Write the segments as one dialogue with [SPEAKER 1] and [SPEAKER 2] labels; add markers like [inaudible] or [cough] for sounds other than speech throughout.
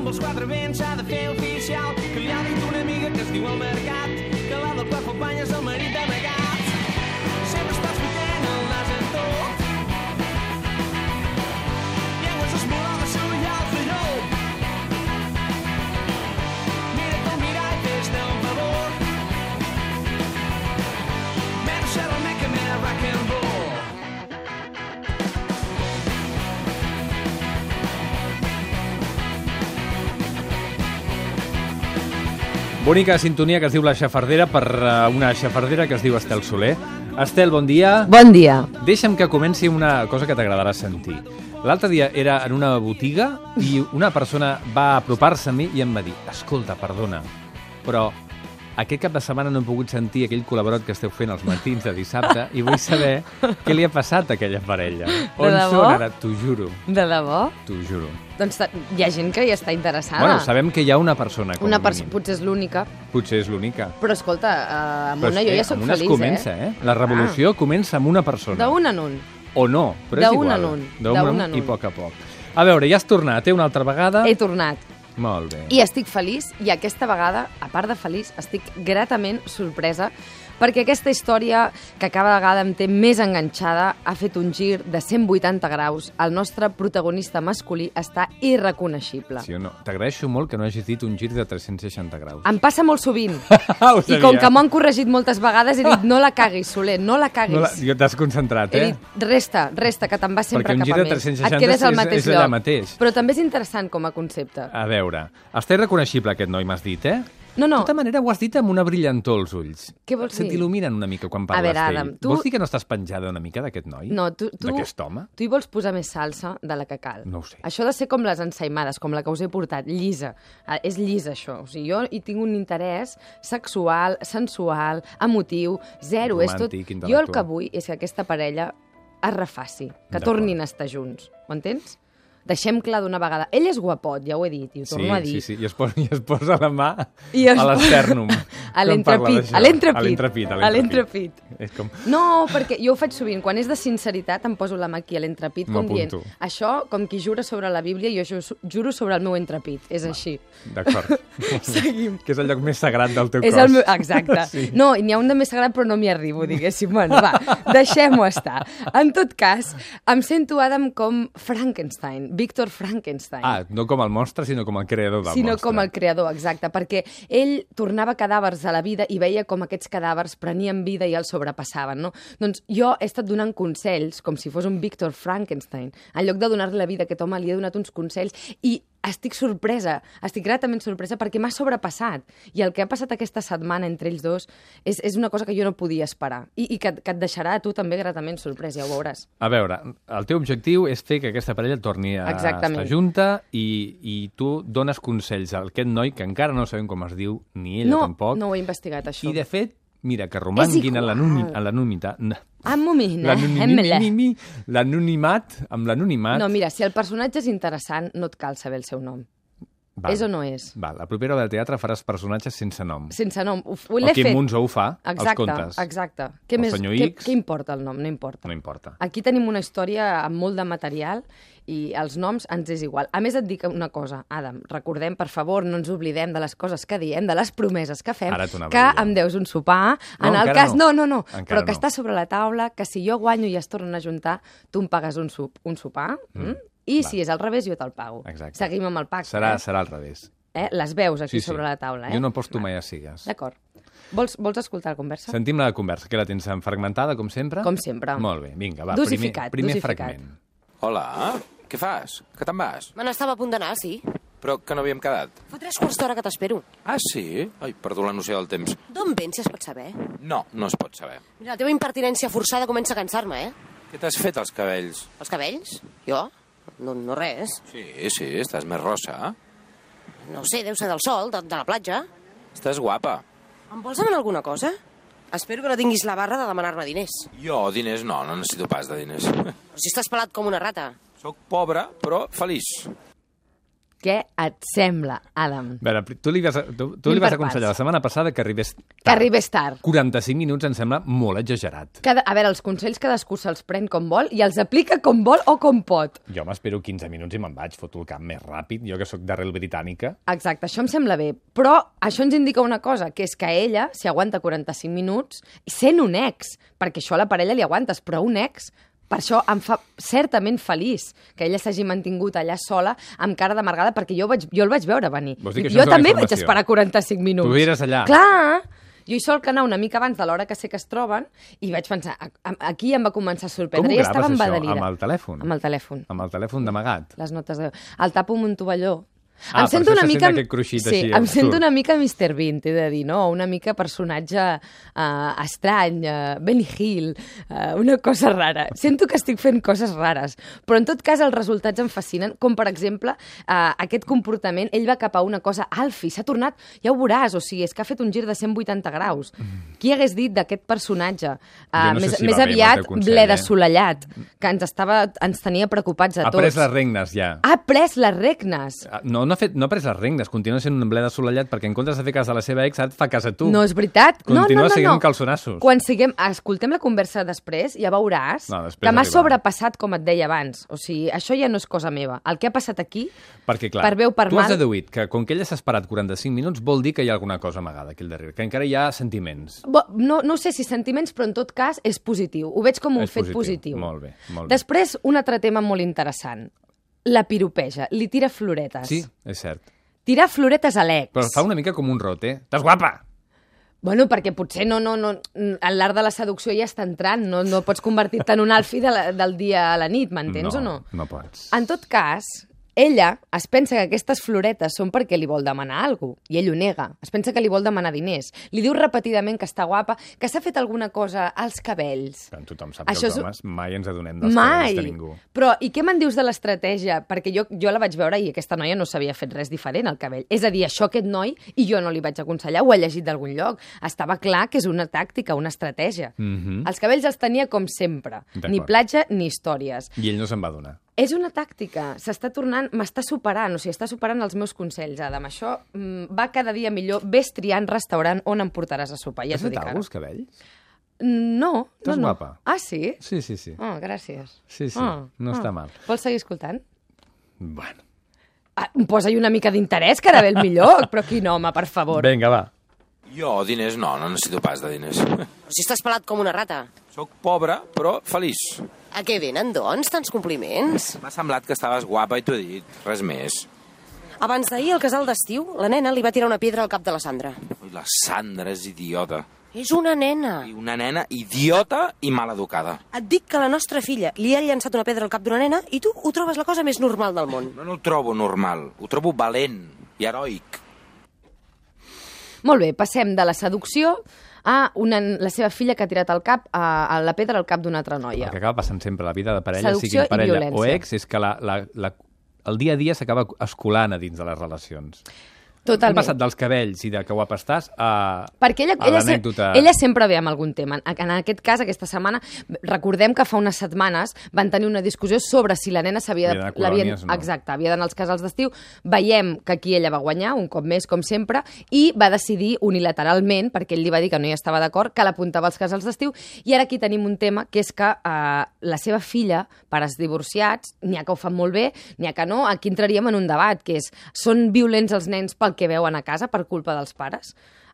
[SPEAKER 1] pels quatre vents s'ha de fer oficial que li ha dit una amiga que es diu al mercat que la del Paco Panya és el marit amagat. Sempre estàs fotent el nas en tot. Llengües esmolades, sorollals de llop. Mira't al mirall, fes-te un favor. Menos ser el meca, més rock and roll.
[SPEAKER 2] Bonica sintonia que es diu La Xafardera per eh, una xafardera que es diu Estel Soler. Estel, bon dia.
[SPEAKER 3] Bon dia.
[SPEAKER 2] Deixa'm que comenci una cosa que t'agradarà sentir. L'altre dia era en una botiga i una persona va apropar-se a mi i em va dir «Escolta, perdona, però aquest cap de setmana no he pogut sentir aquell col·laborat que esteu fent els matins de dissabte i vull saber què li ha passat a aquella parella. On
[SPEAKER 3] debò?
[SPEAKER 2] són ara? T'ho juro,
[SPEAKER 3] De debò?
[SPEAKER 2] t'ho juro.
[SPEAKER 3] Doncs ta- hi ha gent que hi està interessada.
[SPEAKER 2] Bueno, sabem que hi ha una persona, com
[SPEAKER 3] Ah. Una
[SPEAKER 2] a
[SPEAKER 3] persona,
[SPEAKER 2] mínim.
[SPEAKER 3] potser és l'única.
[SPEAKER 2] Potser és l'única.
[SPEAKER 3] Però escolta, eh, amb
[SPEAKER 2] Però
[SPEAKER 3] una
[SPEAKER 2] és
[SPEAKER 3] jo
[SPEAKER 2] que
[SPEAKER 3] ja soc
[SPEAKER 2] amb una
[SPEAKER 3] feliç,
[SPEAKER 2] es comença, eh? La revolució ah. comença amb una persona.
[SPEAKER 3] D'un en un.
[SPEAKER 2] O no, però és
[SPEAKER 3] D'un
[SPEAKER 2] igual.
[SPEAKER 3] en un,
[SPEAKER 2] D'un
[SPEAKER 3] d'un
[SPEAKER 2] en
[SPEAKER 3] en
[SPEAKER 2] un. I
[SPEAKER 3] un.
[SPEAKER 2] poc a poc. A veure, ja has tornat, eh, una altra vegada?
[SPEAKER 3] He tornat.
[SPEAKER 2] Molt bé.
[SPEAKER 3] I estic feliç, i aquesta vegada, a part de feliç, estic gratament sorpresa perquè aquesta història, que cada vegada em té més enganxada, ha fet un gir de 180 graus. El nostre protagonista masculí està irreconeixible.
[SPEAKER 2] Sí o no? T'agraeixo molt que no hagis dit un gir de 360 graus.
[SPEAKER 3] Em passa molt sovint.
[SPEAKER 2] [laughs] Ho
[SPEAKER 3] I
[SPEAKER 2] sabia.
[SPEAKER 3] com que m'ho han corregit moltes vegades, he
[SPEAKER 2] [laughs]
[SPEAKER 3] dit no la caguis, Soler, no la caguis.
[SPEAKER 2] No, la- jo T'has concentrat,
[SPEAKER 3] He
[SPEAKER 2] eh?
[SPEAKER 3] dit, resta, resta, que te'n vas sempre
[SPEAKER 2] Perquè un
[SPEAKER 3] cap
[SPEAKER 2] gir de
[SPEAKER 3] a més.
[SPEAKER 2] 360
[SPEAKER 3] Et quedes al
[SPEAKER 2] és-
[SPEAKER 3] mateix
[SPEAKER 2] és allà
[SPEAKER 3] lloc.
[SPEAKER 2] mateix.
[SPEAKER 3] Però també és interessant com a concepte.
[SPEAKER 2] A veure, està irreconeixible aquest noi, m'has dit, eh?
[SPEAKER 3] No,
[SPEAKER 2] De
[SPEAKER 3] no,
[SPEAKER 2] tota manera, ho has dit amb una brillantor als ulls.
[SPEAKER 3] Què vols
[SPEAKER 2] Se
[SPEAKER 3] dir?
[SPEAKER 2] t'il·luminen una mica quan parles
[SPEAKER 3] veure,
[SPEAKER 2] d'ell.
[SPEAKER 3] Adam, tu-
[SPEAKER 2] Vols dir que no estàs penjada una mica d'aquest noi?
[SPEAKER 3] no tu, tu,
[SPEAKER 2] D'aquest home?
[SPEAKER 3] tu hi vols posar més salsa de la que cal.
[SPEAKER 2] No ho sé.
[SPEAKER 3] Això ha de ser com les ensaïmades, com la que us he portat, llisa. Ah, és llisa, això. O sigui, jo hi tinc un interès sexual, sensual, emotiu, zero.
[SPEAKER 2] Romàntic,
[SPEAKER 3] és tot... Jo
[SPEAKER 2] intel·lectual.
[SPEAKER 3] el que vull és que aquesta parella es refaci, que
[SPEAKER 2] D'acord.
[SPEAKER 3] tornin a estar junts. Ho entens? Deixem clar d'una vegada. Ell és guapot, ja ho he dit, i ho torno a dir.
[SPEAKER 2] Sí, sí, i es, posa, i es posa la mà
[SPEAKER 3] I es
[SPEAKER 2] a
[SPEAKER 3] posa-
[SPEAKER 2] l'esternum.
[SPEAKER 3] A
[SPEAKER 2] Quan parla
[SPEAKER 3] l'entrepit,
[SPEAKER 2] d'això.
[SPEAKER 3] a l'entrepit.
[SPEAKER 2] A l'entrepit,
[SPEAKER 3] A l'entrepit.
[SPEAKER 2] És com...
[SPEAKER 3] No, perquè jo ho faig sovint. Quan és de sinceritat em poso la mà aquí a l'entrepit, com dient,
[SPEAKER 2] M'apunto.
[SPEAKER 3] això, com qui jura sobre la Bíblia, jo ju- juro sobre el meu entrepit. És així.
[SPEAKER 2] D'acord.
[SPEAKER 3] Seguim.
[SPEAKER 2] que és el lloc més sagrat del teu
[SPEAKER 3] És
[SPEAKER 2] cos.
[SPEAKER 3] el meu...
[SPEAKER 2] [laughs]
[SPEAKER 3] Exacte.
[SPEAKER 2] Sí.
[SPEAKER 3] No, n'hi ha un de més sagrat, però no m'hi arribo, diguéssim. Bueno, va, deixem-ho estar. En tot cas, em sento, Adam, com Frankenstein, Víctor Frankenstein.
[SPEAKER 2] Ah, no com el monstre, sinó com el creador del
[SPEAKER 3] sinó
[SPEAKER 2] monstre.
[SPEAKER 3] com el creador, exacte, perquè ell tornava cadàvers a la vida i veia com aquests cadàvers prenien vida i els sobrepassaven, no? Doncs jo he estat donant consells, com si fos un Víctor Frankenstein. En lloc de donar-li la vida a aquest home, li he donat uns consells i estic sorpresa, estic gratament sorpresa perquè m'ha sobrepassat. I el que ha passat aquesta setmana entre ells dos és, és una cosa que jo no podia esperar i, i que, et- que et deixarà a tu també gratament sorpresa, ja ho veuràs.
[SPEAKER 2] A veure, el teu objectiu és fer que aquesta parella torni a
[SPEAKER 3] Exactament.
[SPEAKER 2] estar junta i, i tu dones consells a aquest noi que encara no sabem com es diu, ni ella
[SPEAKER 3] no,
[SPEAKER 2] tampoc.
[SPEAKER 3] no ho he investigat, això.
[SPEAKER 2] I de fet, mira, que romanguin en
[SPEAKER 3] igual.
[SPEAKER 2] l'anoni- en l'anomitat...
[SPEAKER 3] Ah, un moment, eh?
[SPEAKER 2] L'anonimi- L'anonimat, amb l'anonimat...
[SPEAKER 3] No, mira, si el personatge és interessant, no et cal saber el seu nom.
[SPEAKER 2] Val.
[SPEAKER 3] És o no és?
[SPEAKER 2] Val, la propera obra de teatre faràs personatges sense nom.
[SPEAKER 3] Sense nom. Ho, ho
[SPEAKER 2] El
[SPEAKER 3] l'he
[SPEAKER 2] Quim
[SPEAKER 3] fet.
[SPEAKER 2] Monzó ho fa, els
[SPEAKER 3] Exacte,
[SPEAKER 2] contes.
[SPEAKER 3] exacte. Què
[SPEAKER 2] El
[SPEAKER 3] més?
[SPEAKER 2] senyor
[SPEAKER 3] Què,
[SPEAKER 2] X.
[SPEAKER 3] què importa el nom? No importa.
[SPEAKER 2] No importa.
[SPEAKER 3] Aquí tenim una història amb molt de material i els noms ens és igual. A més, et dic una cosa, Adam, recordem, per favor, no ens oblidem de les coses que diem, de les promeses que fem,
[SPEAKER 2] Ara t'ho anava
[SPEAKER 3] que
[SPEAKER 2] a dir, eh?
[SPEAKER 3] em deus un sopar,
[SPEAKER 2] No,
[SPEAKER 3] en el
[SPEAKER 2] encara
[SPEAKER 3] cas...
[SPEAKER 2] no.
[SPEAKER 3] no, no,
[SPEAKER 2] Encara
[SPEAKER 3] però que
[SPEAKER 2] no.
[SPEAKER 3] està sobre la taula, que si jo guanyo i es tornen a juntar, tu em pagues un, sup, un sopar, mm. i si és al revés, jo te'l pago.
[SPEAKER 2] Exacte.
[SPEAKER 3] Seguim amb el pacte.
[SPEAKER 2] Serà,
[SPEAKER 3] eh?
[SPEAKER 2] serà al revés.
[SPEAKER 3] Eh? Les veus aquí
[SPEAKER 2] Sí, sí.
[SPEAKER 3] sobre la taula, eh?
[SPEAKER 2] Jo no aposto mai a sigues.
[SPEAKER 3] D'acord. Vols, vols escoltar la conversa?
[SPEAKER 2] Sentim la conversa, que la tens en fragmentada, com sempre?
[SPEAKER 3] Com sempre.
[SPEAKER 2] Molt bé, vinga, va,
[SPEAKER 3] Dosificat,
[SPEAKER 2] primer, primer
[SPEAKER 3] dosificat.
[SPEAKER 2] fragment.
[SPEAKER 4] Hola, què fas? Que te'n vas?
[SPEAKER 5] Me n'estava a punt d'anar, sí.
[SPEAKER 4] Però que no havíem quedat.
[SPEAKER 5] Fa tres quarts d'hora que t'espero.
[SPEAKER 4] Ah, sí? Ai, perdo la noció del temps.
[SPEAKER 5] D'on vens, si es pot saber?
[SPEAKER 4] No, no es pot saber.
[SPEAKER 5] Mira, la teva impertinència forçada comença a cansar-me, eh?
[SPEAKER 4] Què t'has fet als cabells?
[SPEAKER 5] Els cabells? Jo? No, no res.
[SPEAKER 4] Sí, sí, estàs més rossa.
[SPEAKER 5] No ho sé, deu ser del sol, de, de la platja.
[SPEAKER 4] Estàs guapa.
[SPEAKER 5] Em vols demanar alguna cosa? Espero que no tinguis la barra de demanar-me diners.
[SPEAKER 4] Jo, diners no, no necessito pas de diners. [laughs]
[SPEAKER 5] Però si estàs pelat com una rata.
[SPEAKER 4] Soc pobre, però feliç.
[SPEAKER 3] Què et sembla, Adam?
[SPEAKER 2] A veure, tu li vas, tu, tu li
[SPEAKER 3] Anem
[SPEAKER 2] vas
[SPEAKER 3] per
[SPEAKER 2] aconsellar la
[SPEAKER 3] parts.
[SPEAKER 2] setmana passada que arribés tard.
[SPEAKER 3] Que arribés tard.
[SPEAKER 2] 45 minuts em sembla molt exagerat.
[SPEAKER 3] Cada, a veure, els consells cadascú se'ls pren com vol i els aplica com vol o com pot.
[SPEAKER 2] Jo m'espero 15 minuts i me'n vaig, foto el cap més ràpid, jo que sóc d'arrel britànica.
[SPEAKER 3] Exacte, això em sembla bé. Però això ens indica una cosa, que és que ella, si aguanta 45 minuts, sent un ex, perquè això a la parella li aguantes, però un ex, per això em fa certament feliç que ella s'hagi mantingut allà sola amb cara d'amargada, perquè jo, vaig, jo el vaig veure venir.
[SPEAKER 2] Vols dir que això
[SPEAKER 3] jo
[SPEAKER 2] és una
[SPEAKER 3] també vaig
[SPEAKER 2] informació?
[SPEAKER 3] esperar 45 minuts.
[SPEAKER 2] Tu eres allà.
[SPEAKER 3] Clar! Jo hi sol que anar una mica abans de l'hora que sé que es troben i vaig pensar, a- a- aquí em va començar a sorprendre.
[SPEAKER 2] Com ho
[SPEAKER 3] I estava
[SPEAKER 2] graves, això?
[SPEAKER 3] embadalida.
[SPEAKER 2] Amb el telèfon?
[SPEAKER 3] Amb el telèfon
[SPEAKER 2] Amb el telèfon d'amagat.
[SPEAKER 3] les notes de veu. El tapo amb un tovalló.
[SPEAKER 2] Ah, per això se sent aquest cruixit
[SPEAKER 3] sí,
[SPEAKER 2] així,
[SPEAKER 3] em
[SPEAKER 2] absurd.
[SPEAKER 3] sento una mica Mr. Bean, t'he de dir, no? Una mica personatge uh, estrany, uh, Benny Hill, uh, una cosa rara. Sento que estic fent coses rares, però en tot cas els resultats em fascinen, com per exemple uh, aquest comportament, ell va cap a una cosa alfi, s'ha tornat, ja ho veuràs, o sigui, és que ha fet un gir de 180 graus. Qui hagués dit d'aquest personatge?
[SPEAKER 2] Mm. Jo
[SPEAKER 3] Uh,
[SPEAKER 2] no sé
[SPEAKER 3] més
[SPEAKER 2] si va
[SPEAKER 3] més
[SPEAKER 2] bé amb el
[SPEAKER 3] aviat,
[SPEAKER 2] teu consell,
[SPEAKER 3] ble
[SPEAKER 2] eh?
[SPEAKER 3] de solellat, que ens, estava, ens tenia preocupats a
[SPEAKER 2] Ha
[SPEAKER 3] tots
[SPEAKER 2] pres les regnes, ja.
[SPEAKER 3] ha pres les regnes.
[SPEAKER 2] Ah, No, no ha, fet, no ha pres les regnes, continua sent un ble de solellat perquè en comptes de fer cas de la seva ex, ara et fa cas a tu.
[SPEAKER 3] No és veritat? no, no,
[SPEAKER 2] Continua
[SPEAKER 3] no,
[SPEAKER 2] seguint
[SPEAKER 3] no.
[SPEAKER 2] amb calçonassos.
[SPEAKER 3] Quan siguem, escoltem la conversa després, ja veuràs
[SPEAKER 2] No, després
[SPEAKER 3] que m'ha
[SPEAKER 2] arribarà.
[SPEAKER 3] sobrepassat, com et deia abans. O sigui, això ja no és cosa meva. El que ha passat aquí,
[SPEAKER 2] Perquè, clar,
[SPEAKER 3] per bé o per
[SPEAKER 2] tu has
[SPEAKER 3] mal...
[SPEAKER 2] deduït que com que ella s'ha esperat 45 minuts vol dir que hi ha alguna cosa amagada aquí al darrere, que encara hi ha sentiments.
[SPEAKER 3] Bo, no, no ho sé si sentiments, però en tot cas és positiu. Ho veig com un
[SPEAKER 2] És
[SPEAKER 3] fet
[SPEAKER 2] positiu.
[SPEAKER 3] positiu.
[SPEAKER 2] Molt bé, molt bé.
[SPEAKER 3] Després, un altre tema molt interessant. La piropeja, li tira floretes.
[SPEAKER 2] Sí, és cert.
[SPEAKER 3] Tirar floretes a l'ex.
[SPEAKER 2] Però fa una mica com un rot, eh? Estàs guapa!
[SPEAKER 3] Bueno, perquè potser no, no, no, en l'art de la seducció ja està entrant, no, no pots convertir-te en un alfi de la, del dia a la nit, m'entens
[SPEAKER 2] no,
[SPEAKER 3] o no? Ah.
[SPEAKER 2] No pots.
[SPEAKER 3] En tot cas, ella es pensa que aquestes floretes són perquè li vol demanar alguna cosa, i ell ho nega. Es pensa que li vol demanar diners. Li diu repetidament que està guapa, que s'ha fet alguna cosa als cabells.
[SPEAKER 2] Tant tothom sap
[SPEAKER 3] Això
[SPEAKER 2] que els
[SPEAKER 3] és-
[SPEAKER 2] homes mai ens adonem dels cabells
[SPEAKER 3] Mai!
[SPEAKER 2] de ningú.
[SPEAKER 3] Però, i què me'n dius de l'estratègia? Perquè jo, jo la vaig veure i aquesta noia no s'havia fet res diferent al cabell. És a dir, això aquest noi, i jo no li vaig aconsellar, ho he llegit d'algun lloc. Estava clar que és una tàctica, una estratègia.
[SPEAKER 2] Mhm.
[SPEAKER 3] Els cabells els tenia com sempre.
[SPEAKER 2] D'acord.
[SPEAKER 3] Ni platja ni històries.
[SPEAKER 2] I ell no se'n va donar.
[SPEAKER 3] És una tàctica. S'està tornant... M'està superant. O sigui, està superant els meus consells, Adam. Això mm, va cada dia millor. Ves triant restaurant on em portaràs a sopar. Ja
[SPEAKER 2] Has
[SPEAKER 3] t'ho
[SPEAKER 2] fet
[SPEAKER 3] dic
[SPEAKER 2] alguna
[SPEAKER 3] ara. Mm,
[SPEAKER 2] cosa, cabells?
[SPEAKER 3] No, no,
[SPEAKER 2] Estàs
[SPEAKER 3] no.
[SPEAKER 2] guapa.
[SPEAKER 3] Ah, sí?
[SPEAKER 2] Sí, sí, sí.
[SPEAKER 3] Oh, gràcies.
[SPEAKER 2] Sí, sí,
[SPEAKER 3] Ah,
[SPEAKER 2] no
[SPEAKER 3] ah.
[SPEAKER 2] està mal.
[SPEAKER 3] Vols seguir escoltant?
[SPEAKER 2] Bueno.
[SPEAKER 3] Ah, Posa-hi una mica d'interès, que ara ve el
[SPEAKER 2] [laughs]
[SPEAKER 3] millor. Però quin home, per favor.
[SPEAKER 2] Vinga, va.
[SPEAKER 4] Jo, diners no, no necessito pas de diners. [laughs]
[SPEAKER 5] Però si estàs pelat com una rata.
[SPEAKER 4] Soc pobre, però feliç.
[SPEAKER 5] A què venen, doncs, tants compliments?
[SPEAKER 4] M'ha semblat que estaves guapa i t'ho he dit, res més.
[SPEAKER 5] Abans d'ahir, al casal d'estiu, la nena li va tirar una pedra al cap de la Sandra.
[SPEAKER 4] Ui, la Sandra és idiota.
[SPEAKER 5] És una nena.
[SPEAKER 4] I una nena idiota i mal educada.
[SPEAKER 5] Et dic que la nostra filla li ha llançat una pedra al cap d'una nena i tu ho trobes la cosa més normal del món.
[SPEAKER 4] No, no ho trobo normal, ho trobo valent i heroic.
[SPEAKER 3] Molt bé, passem de la seducció a una, la seva filla que ha tirat el cap a, a la pedra al cap d'una altra
[SPEAKER 2] El
[SPEAKER 3] noia.
[SPEAKER 2] que acaba passant sempre a la vida de parella,
[SPEAKER 3] Seducció
[SPEAKER 2] sigui
[SPEAKER 3] i
[SPEAKER 2] parella o
[SPEAKER 3] violència.
[SPEAKER 2] ex, és que la, la, la, el dia a dia s'acaba escolant a dins de les relacions. Hem
[SPEAKER 3] Totalment.
[SPEAKER 2] passat dels cabells i de que guapa estàs a,
[SPEAKER 3] Perquè ella,
[SPEAKER 2] a
[SPEAKER 3] ella, se,
[SPEAKER 2] l'anècdota...
[SPEAKER 3] ella sempre ve amb algun tema. En, en aquest cas, aquesta setmana, recordem que fa unes setmanes van tenir una discussió sobre si la nena s'havia...
[SPEAKER 2] Havia d'anar a
[SPEAKER 3] l'havien-
[SPEAKER 2] colònies, no.
[SPEAKER 3] Exacte, havia d'anar als casals d'estiu. Veiem que aquí ella va guanyar, un cop més, com sempre, i va decidir unilateralment, perquè ell li va dir que no hi estava d'acord, que l'apuntava als casals d'estiu. I ara aquí tenim un tema, que és que eh, la seva filla, pares divorciats, n'hi ha que ho fan molt bé, n'hi ha que no, aquí entraríem en un debat, que és, són violents els nens pel que veuen a casa per culpa dels pares?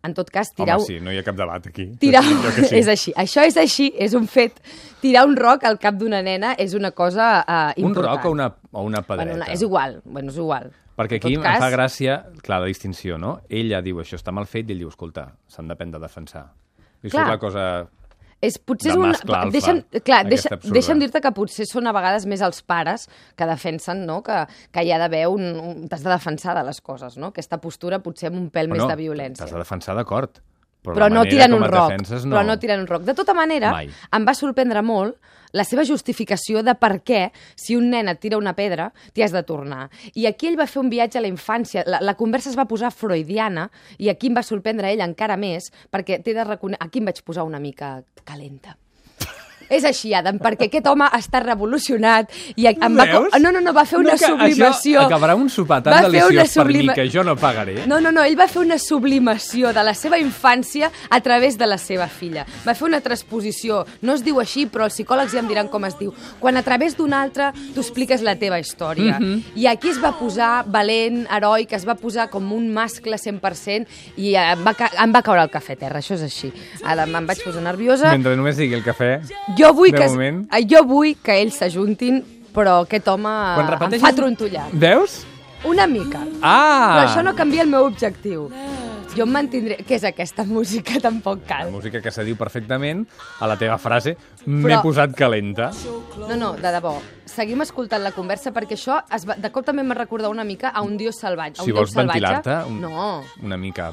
[SPEAKER 3] En tot cas, tirar...
[SPEAKER 2] Home, sí, no hi ha cap debat aquí.
[SPEAKER 3] Tirar...
[SPEAKER 2] Jo que sí.
[SPEAKER 3] [laughs] és així. Això és així, és un fet. Tirar un roc al cap d'una nena és una cosa eh,
[SPEAKER 2] Un
[SPEAKER 3] important.
[SPEAKER 2] roc o una, o una
[SPEAKER 3] Bueno,
[SPEAKER 2] pedreta.
[SPEAKER 3] una... És igual, bueno, és igual.
[SPEAKER 2] Perquè
[SPEAKER 3] En
[SPEAKER 2] aquí
[SPEAKER 3] tot
[SPEAKER 2] em fa gràcia, clar, la distinció, no? Ella diu, això està mal fet, i ell diu, escolta, s'han d'aprendre a defensar. I això
[SPEAKER 3] Clar.
[SPEAKER 2] és la cosa...
[SPEAKER 3] És, potser
[SPEAKER 2] de
[SPEAKER 3] és un...
[SPEAKER 2] mascle alfa,
[SPEAKER 3] deixa'm, clar,
[SPEAKER 2] aquesta
[SPEAKER 3] deixa,
[SPEAKER 2] absurda.
[SPEAKER 3] deixa'm dir-te que potser són a vegades més els pares que defensen no? que, que hi ha d'haver un... un- T'has de defensar de les coses, no? Aquesta postura potser amb un pèl
[SPEAKER 2] Bueno,
[SPEAKER 3] més de
[SPEAKER 2] T'has
[SPEAKER 3] violència.
[SPEAKER 2] de defensar d'acord. Però,
[SPEAKER 3] Però
[SPEAKER 2] la
[SPEAKER 3] no
[SPEAKER 2] manera
[SPEAKER 3] tiren
[SPEAKER 2] com
[SPEAKER 3] un
[SPEAKER 2] et
[SPEAKER 3] roc.
[SPEAKER 2] Defenses, no.
[SPEAKER 3] Però no tiren un roc. De tota manera,
[SPEAKER 2] Mai.
[SPEAKER 3] em va sorprendre molt la seva justificació de per què, si un nen et tira una pedra, t'hi has de tornar. I aquí ell va fer un viatge a la infància. La, la conversa es va posar freudiana i aquí em va sorprendre ell encara més perquè t'he de reconèixer... Aquí em vaig posar una mica calenta. És així, Adam, perquè aquest home està revolucionat i em va... co-
[SPEAKER 2] Veus?
[SPEAKER 3] No, no, no, va fer una
[SPEAKER 2] que
[SPEAKER 3] sublimació.
[SPEAKER 2] Això acabarà un sopar tan
[SPEAKER 3] Va fer una
[SPEAKER 2] deliciós
[SPEAKER 3] sublima-
[SPEAKER 2] per mi que jo no pagaré. eh?
[SPEAKER 3] No, no, no, ell va fer una sublimació de la seva infància a través de la seva filla. Va fer una transposició. No es diu així, però els psicòlegs ja em diran com es diu. Quan a través d'un altre tu expliques la teva història.
[SPEAKER 2] Mhm.
[SPEAKER 3] I aquí es va posar valent, heroic, es va posar com un mascle 100% i eh, em va, ca em va caure el cafè a terra, això és així. Ara em vaig posar nerviosa.
[SPEAKER 2] Mentre només digui el cafè...
[SPEAKER 3] Jo vull,
[SPEAKER 2] De
[SPEAKER 3] que, es-
[SPEAKER 2] moment.
[SPEAKER 3] eh, jo vull que ells s'ajuntin, però aquest home
[SPEAKER 2] Quan
[SPEAKER 3] em
[SPEAKER 2] repeteixis...
[SPEAKER 3] fa trontollar.
[SPEAKER 2] Veus?
[SPEAKER 3] Una mica.
[SPEAKER 2] Ah!
[SPEAKER 3] Però això no canvia el meu objectiu. Jo em mantindré... Què és aquesta [laughs] música? Tampoc
[SPEAKER 2] La
[SPEAKER 3] cal.
[SPEAKER 2] música que se diu perfectament a la teva frase m'he
[SPEAKER 3] Però-
[SPEAKER 2] posat calenta.
[SPEAKER 3] No, no, de debò. Seguim escoltant la conversa perquè això es va, de cop també m'ha recordat una mica a un dios salvatge. a
[SPEAKER 2] Si
[SPEAKER 3] un
[SPEAKER 2] vols
[SPEAKER 3] déu salvatge.
[SPEAKER 2] ventilar-te un,
[SPEAKER 3] No.
[SPEAKER 2] una mica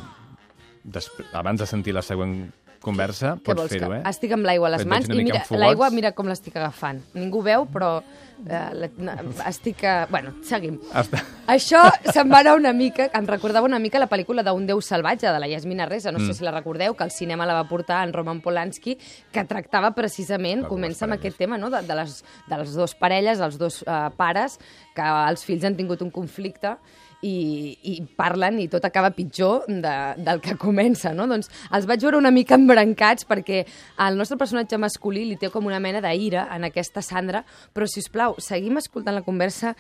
[SPEAKER 2] despre, abans de sentir la següent conversa,
[SPEAKER 3] Què
[SPEAKER 2] pots
[SPEAKER 3] vols
[SPEAKER 2] fer-ho,
[SPEAKER 3] que...
[SPEAKER 2] eh?
[SPEAKER 3] Estic amb l'aigua a les
[SPEAKER 2] Et veig
[SPEAKER 3] mans
[SPEAKER 2] una
[SPEAKER 3] i
[SPEAKER 2] mica
[SPEAKER 3] mira,
[SPEAKER 2] amb fogots.
[SPEAKER 3] l'aigua mira com l'estic agafant. Ningú veu, però eh, la, na, estic... A... Bueno, seguim.
[SPEAKER 2] Està...
[SPEAKER 3] Això se'n va anar una mica... Em recordava una mica la pel·lícula d'un déu salvatge, de la Yasmina Reza, no sé si la recordeu, que al cinema la va portar en Roman Polanski, que tractava precisament,
[SPEAKER 2] De dues
[SPEAKER 3] comença amb
[SPEAKER 2] parelles.
[SPEAKER 3] aquest tema, no? de, de, les, de les dues parelles, els dos eh, pares, que els fills han tingut un conflicte i, i parlen i tot acaba pitjor de, del que comença, no? Doncs els vaig veure una mica embrancats perquè el nostre personatge masculí li té com una mena d'ira en aquesta Sandra, però, si us plau, seguim escoltant la conversa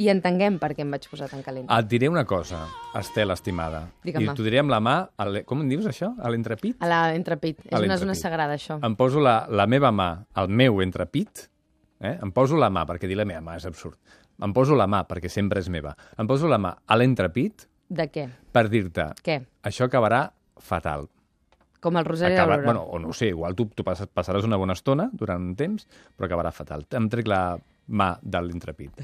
[SPEAKER 3] i entenguem per què em vaig posar tan calent.
[SPEAKER 2] Et diré una cosa, Estel, estimada.
[SPEAKER 3] Digue'm-la.
[SPEAKER 2] I t'ho diré amb la mà... A l'e- com en dius, això? A l'entrepit?
[SPEAKER 3] A l'entrepit. És
[SPEAKER 2] A
[SPEAKER 3] una zona
[SPEAKER 2] l'entrepit.
[SPEAKER 3] sagrada, això.
[SPEAKER 2] Em poso la, la meva mà al meu entrepit, eh? em poso la mà, perquè dir la meva mà és absurd, em poso la mà, perquè sempre és meva, em poso la mà a l'entrepit
[SPEAKER 3] De què?
[SPEAKER 2] per dir-te,
[SPEAKER 3] Què?
[SPEAKER 2] això acabarà fatal.
[SPEAKER 3] Com el Rosari
[SPEAKER 2] Acaba-
[SPEAKER 3] Aurora.
[SPEAKER 2] bueno, o no ho sé, igual tu, tu passes, passaràs una bona estona durant un temps, però acabarà fatal. Em trec la mà de l'entrepit.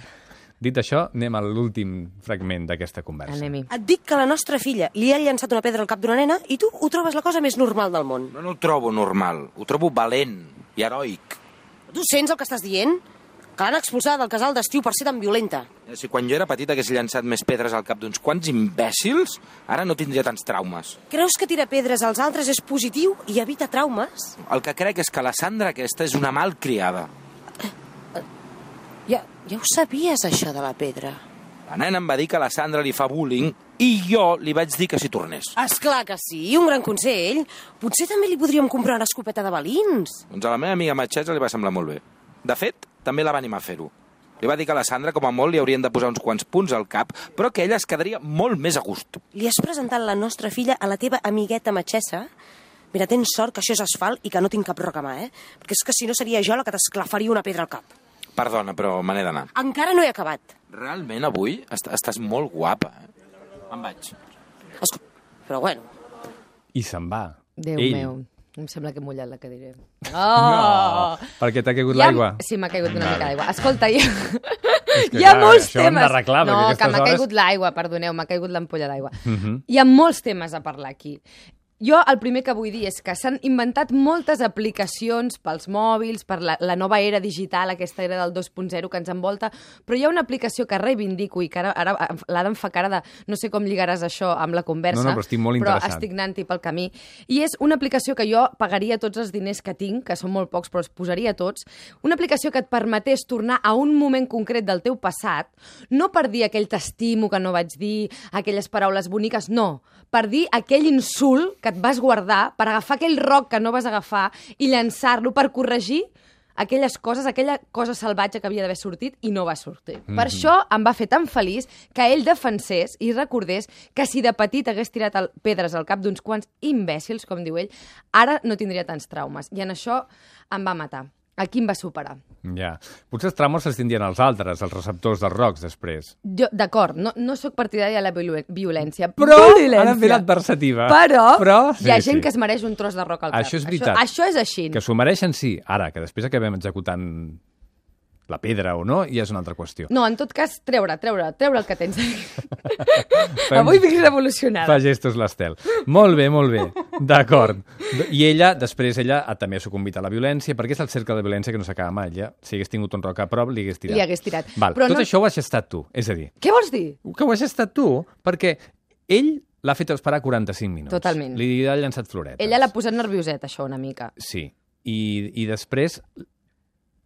[SPEAKER 2] Dit això, anem a l'últim fragment d'aquesta conversa.
[SPEAKER 3] Anem-hi.
[SPEAKER 5] Et dic que la nostra filla li ha llançat una pedra al cap d'una nena i tu ho trobes la cosa més normal del món.
[SPEAKER 4] No, no ho trobo normal, ho trobo valent i heroic.
[SPEAKER 5] Tu sents el que estàs dient? Que l'han expulsada del casal d'estiu per ser tan violenta.
[SPEAKER 4] Si quan jo era petit hagués llançat més pedres al cap d'uns quants imbècils, ara no tindria tants traumes.
[SPEAKER 5] Creus que tirar pedres als altres és positiu i evita traumes?
[SPEAKER 4] El que crec és que la Sandra aquesta és una malcriada.
[SPEAKER 5] Ja, ja ho sabies, això de la pedra.
[SPEAKER 4] La nena em va dir que la Sandra li fa bullying i jo li vaig dir que s'hi tornés.
[SPEAKER 5] És clar que sí, un gran consell. Potser també li podríem comprar una escopeta de balins.
[SPEAKER 4] Doncs a la meva amiga Matxesa li va semblar molt bé. De fet, també la va animar a fer-ho. Li va dir que a la Sandra, com a molt, li haurien de posar uns quants punts al cap, però que ella es quedaria molt més a gust.
[SPEAKER 5] Li has presentat la nostra filla a la teva amigueta matxessa? Mira, tens sort que això és asfalt i que no tinc cap roca a mà, eh? Perquè és que si no seria jo la que t'esclafaria una pedra al cap.
[SPEAKER 4] Perdona, però me n'he d'anar.
[SPEAKER 5] Encara no he acabat.
[SPEAKER 4] Realment, avui, est estàs molt guapa. Eh? Me'n vaig.
[SPEAKER 5] Escolta, però bueno,
[SPEAKER 2] I se'n va.
[SPEAKER 3] Déu
[SPEAKER 2] Ell.
[SPEAKER 3] meu. Em sembla que he mullat la
[SPEAKER 2] [laughs]
[SPEAKER 3] cadira. Oh!
[SPEAKER 2] Perquè t'ha caigut
[SPEAKER 3] Hi ha-
[SPEAKER 2] l'aigua.
[SPEAKER 3] Sí, m'ha caigut una mica d'aigua. Escolta, hi ha,
[SPEAKER 2] que,
[SPEAKER 3] [laughs] hi ha
[SPEAKER 2] clar,
[SPEAKER 3] molts
[SPEAKER 2] això ho hem
[SPEAKER 3] temes...
[SPEAKER 2] d'arreglar,
[SPEAKER 3] no,
[SPEAKER 2] perquè aquestes
[SPEAKER 3] que m'ha
[SPEAKER 2] hores- Mhm.
[SPEAKER 3] caigut l'aigua, perdoneu, m'ha caigut l'ampolla d'aigua. Hi ha molts temes a parlar aquí. Jo el primer que vull dir és que s'han inventat moltes aplicacions pels mòbils, per la, la nova era digital, aquesta era del 2.0 que ens envolta, però hi ha una aplicació que reivindico i que ara, ara l'Adam fa cara de no sé com lligaràs això amb la conversa,
[SPEAKER 2] No, no, però estic molt
[SPEAKER 3] però
[SPEAKER 2] interessat.
[SPEAKER 3] estic estic anant-hi pel camí. I és una aplicació que jo pagaria tots els diners que tinc, que són molt pocs, però els posaria tots. Una aplicació que et permetés tornar a un moment concret del teu passat, no per dir aquell t'estimo que no vaig dir, aquelles paraules boniques, no. Per dir aquell insult que et vas guardar, per agafar aquell roc que no vas agafar i llançar-lo per corregir aquelles coses, aquella cosa salvatge que havia d'haver sortit i no va sortir.
[SPEAKER 2] Mhm.
[SPEAKER 3] Mm -hmm. Per això em va fer tan feliç que ell defensés i recordés que si de petit hagués tirat el, pedres al cap d'uns quants imbècils, com diu ell, ara no tindria tants traumes. I en això em va matar. Aquí em va superar.
[SPEAKER 2] Ja. Potser els tramos se'ls tindrien els altres, els receptors dels rocs, després.
[SPEAKER 3] Jo, D'acord, no, no sóc partidària de la violu- violència,
[SPEAKER 2] Però
[SPEAKER 3] violència.
[SPEAKER 2] ara em ve l'adversativa.
[SPEAKER 3] Però,
[SPEAKER 2] Però-
[SPEAKER 3] hi ha
[SPEAKER 2] sí,
[SPEAKER 3] gent
[SPEAKER 2] sí.
[SPEAKER 3] que es mereix un tros de roca al cap.
[SPEAKER 2] Això és veritat.
[SPEAKER 3] Això, això és així.
[SPEAKER 2] Que s'ho mereixen, sí. Ara, que després acabem executant la pedra o no, ja és una altra qüestió.
[SPEAKER 3] No, en tot cas, treure, treure, treure el que tens.
[SPEAKER 2] [laughs] Fem-
[SPEAKER 3] Avui vinc revolucionada.
[SPEAKER 2] Fa gestos l'Estel. Molt bé, molt bé. D'acord. I ella, després, ella ha- també ha sucumbit a la violència, perquè és el cercle de violència que no s'acaba mai. Ja, si hagués tingut un roc a prop, li hagués tirat.
[SPEAKER 3] Li hagués tirat.
[SPEAKER 2] Val.
[SPEAKER 3] Però
[SPEAKER 2] Tot
[SPEAKER 3] no-
[SPEAKER 2] això ho has estat tu. És a dir,
[SPEAKER 3] Què vols dir?
[SPEAKER 2] que ho has estat tu, perquè ell l'ha fet esperar 45 minuts.
[SPEAKER 3] Totalment.
[SPEAKER 2] Li ha llançat floretes.
[SPEAKER 3] Ella l'ha posat nervioseta, això, una mica.
[SPEAKER 2] Sí. I, I després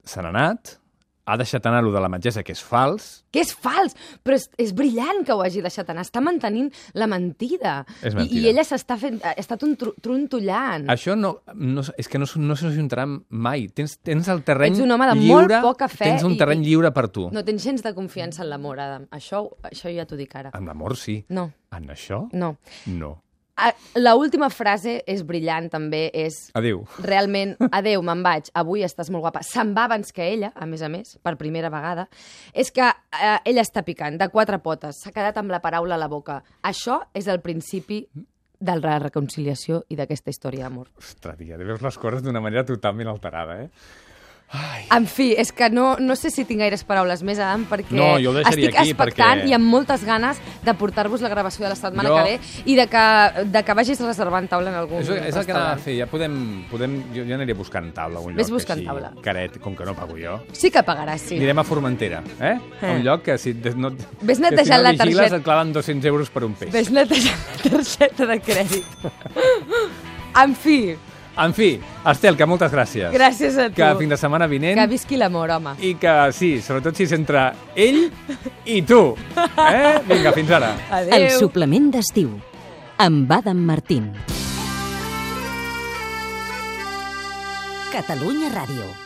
[SPEAKER 2] se n'ha anat, ha deixat anar lo de la metgessa, que és fals,
[SPEAKER 3] Que és fals, però és, és brillant que ho hagi deixat anar. Està mantenint la mentida.
[SPEAKER 2] És
[SPEAKER 3] I,
[SPEAKER 2] mentida.
[SPEAKER 3] I ella s'està fent... eh, Està tru- trontollant.
[SPEAKER 2] Això no, no, és que no, s- no s'ajuntarà mai. Tens, tens el terreny
[SPEAKER 3] Ets un home de molt
[SPEAKER 2] lliure,
[SPEAKER 3] poca fe
[SPEAKER 2] Tens un
[SPEAKER 3] i-
[SPEAKER 2] terreny
[SPEAKER 3] i-
[SPEAKER 2] lliure per tu. No.
[SPEAKER 3] No tens gens de confiança en l'amor, Adam. Això, ho- això ja t'ho dic ara.
[SPEAKER 2] Amb l'amor sí.
[SPEAKER 3] No,
[SPEAKER 2] En això,
[SPEAKER 3] no.
[SPEAKER 2] no.
[SPEAKER 3] Ah, La última frase és brillant, també, és...
[SPEAKER 2] Adéu.
[SPEAKER 3] Realment, adeu, me'n vaig, avui estàs molt guapa. Se'n va abans que ella, a més a més, per primera vegada. És que eh, ella està picant, de quatre potes, s'ha quedat amb la paraula a la boca. Això és el principi de la reconciliació i d'aquesta història d'amor.
[SPEAKER 2] Ostres, tia, veus les coses d'una manera totalment alterada, eh?
[SPEAKER 3] En fi, és que no, no sé si tinc gaires paraules més, Adam, perquè
[SPEAKER 2] No, jo ho deixaria
[SPEAKER 3] estic
[SPEAKER 2] aquí,
[SPEAKER 3] expectant
[SPEAKER 2] perquè-
[SPEAKER 3] i amb moltes ganes de portar-vos la gravació de la setmana
[SPEAKER 2] Jo-
[SPEAKER 3] que ve i de que, de que vagis reservant taula en algun
[SPEAKER 2] És, és el que anava a
[SPEAKER 3] restaurant.
[SPEAKER 2] fer. Ja podem... podem jo, jo aniré buscant taula a un lloc
[SPEAKER 3] Ves buscant
[SPEAKER 2] així,
[SPEAKER 3] taula.
[SPEAKER 2] caret, com que no pago jo.
[SPEAKER 3] Sí que pagaràs, sí.
[SPEAKER 2] Anirem a Formentera, eh? A
[SPEAKER 3] Eh.
[SPEAKER 2] un lloc que si de- no...
[SPEAKER 3] Ves
[SPEAKER 2] que
[SPEAKER 3] netejant
[SPEAKER 2] si no
[SPEAKER 3] la
[SPEAKER 2] vigiles
[SPEAKER 3] targeta.
[SPEAKER 2] et claven 200 euros per un peix.
[SPEAKER 3] Ves netejant la [laughs] targeta de crèdit. en fi,
[SPEAKER 2] En fi, Estel, que moltes gràcies.
[SPEAKER 3] gràcies a tu.
[SPEAKER 2] Que fins la setmana vinent...
[SPEAKER 3] que visqui l'amor, home.
[SPEAKER 2] i que sí, sobretot si és entre ell i tu.
[SPEAKER 3] [laughs]
[SPEAKER 2] Eh? Vinga, fins ara.
[SPEAKER 3] Adéu.
[SPEAKER 6] El suplement d'estiu amb Adam Martín. Catalunya Ràdio.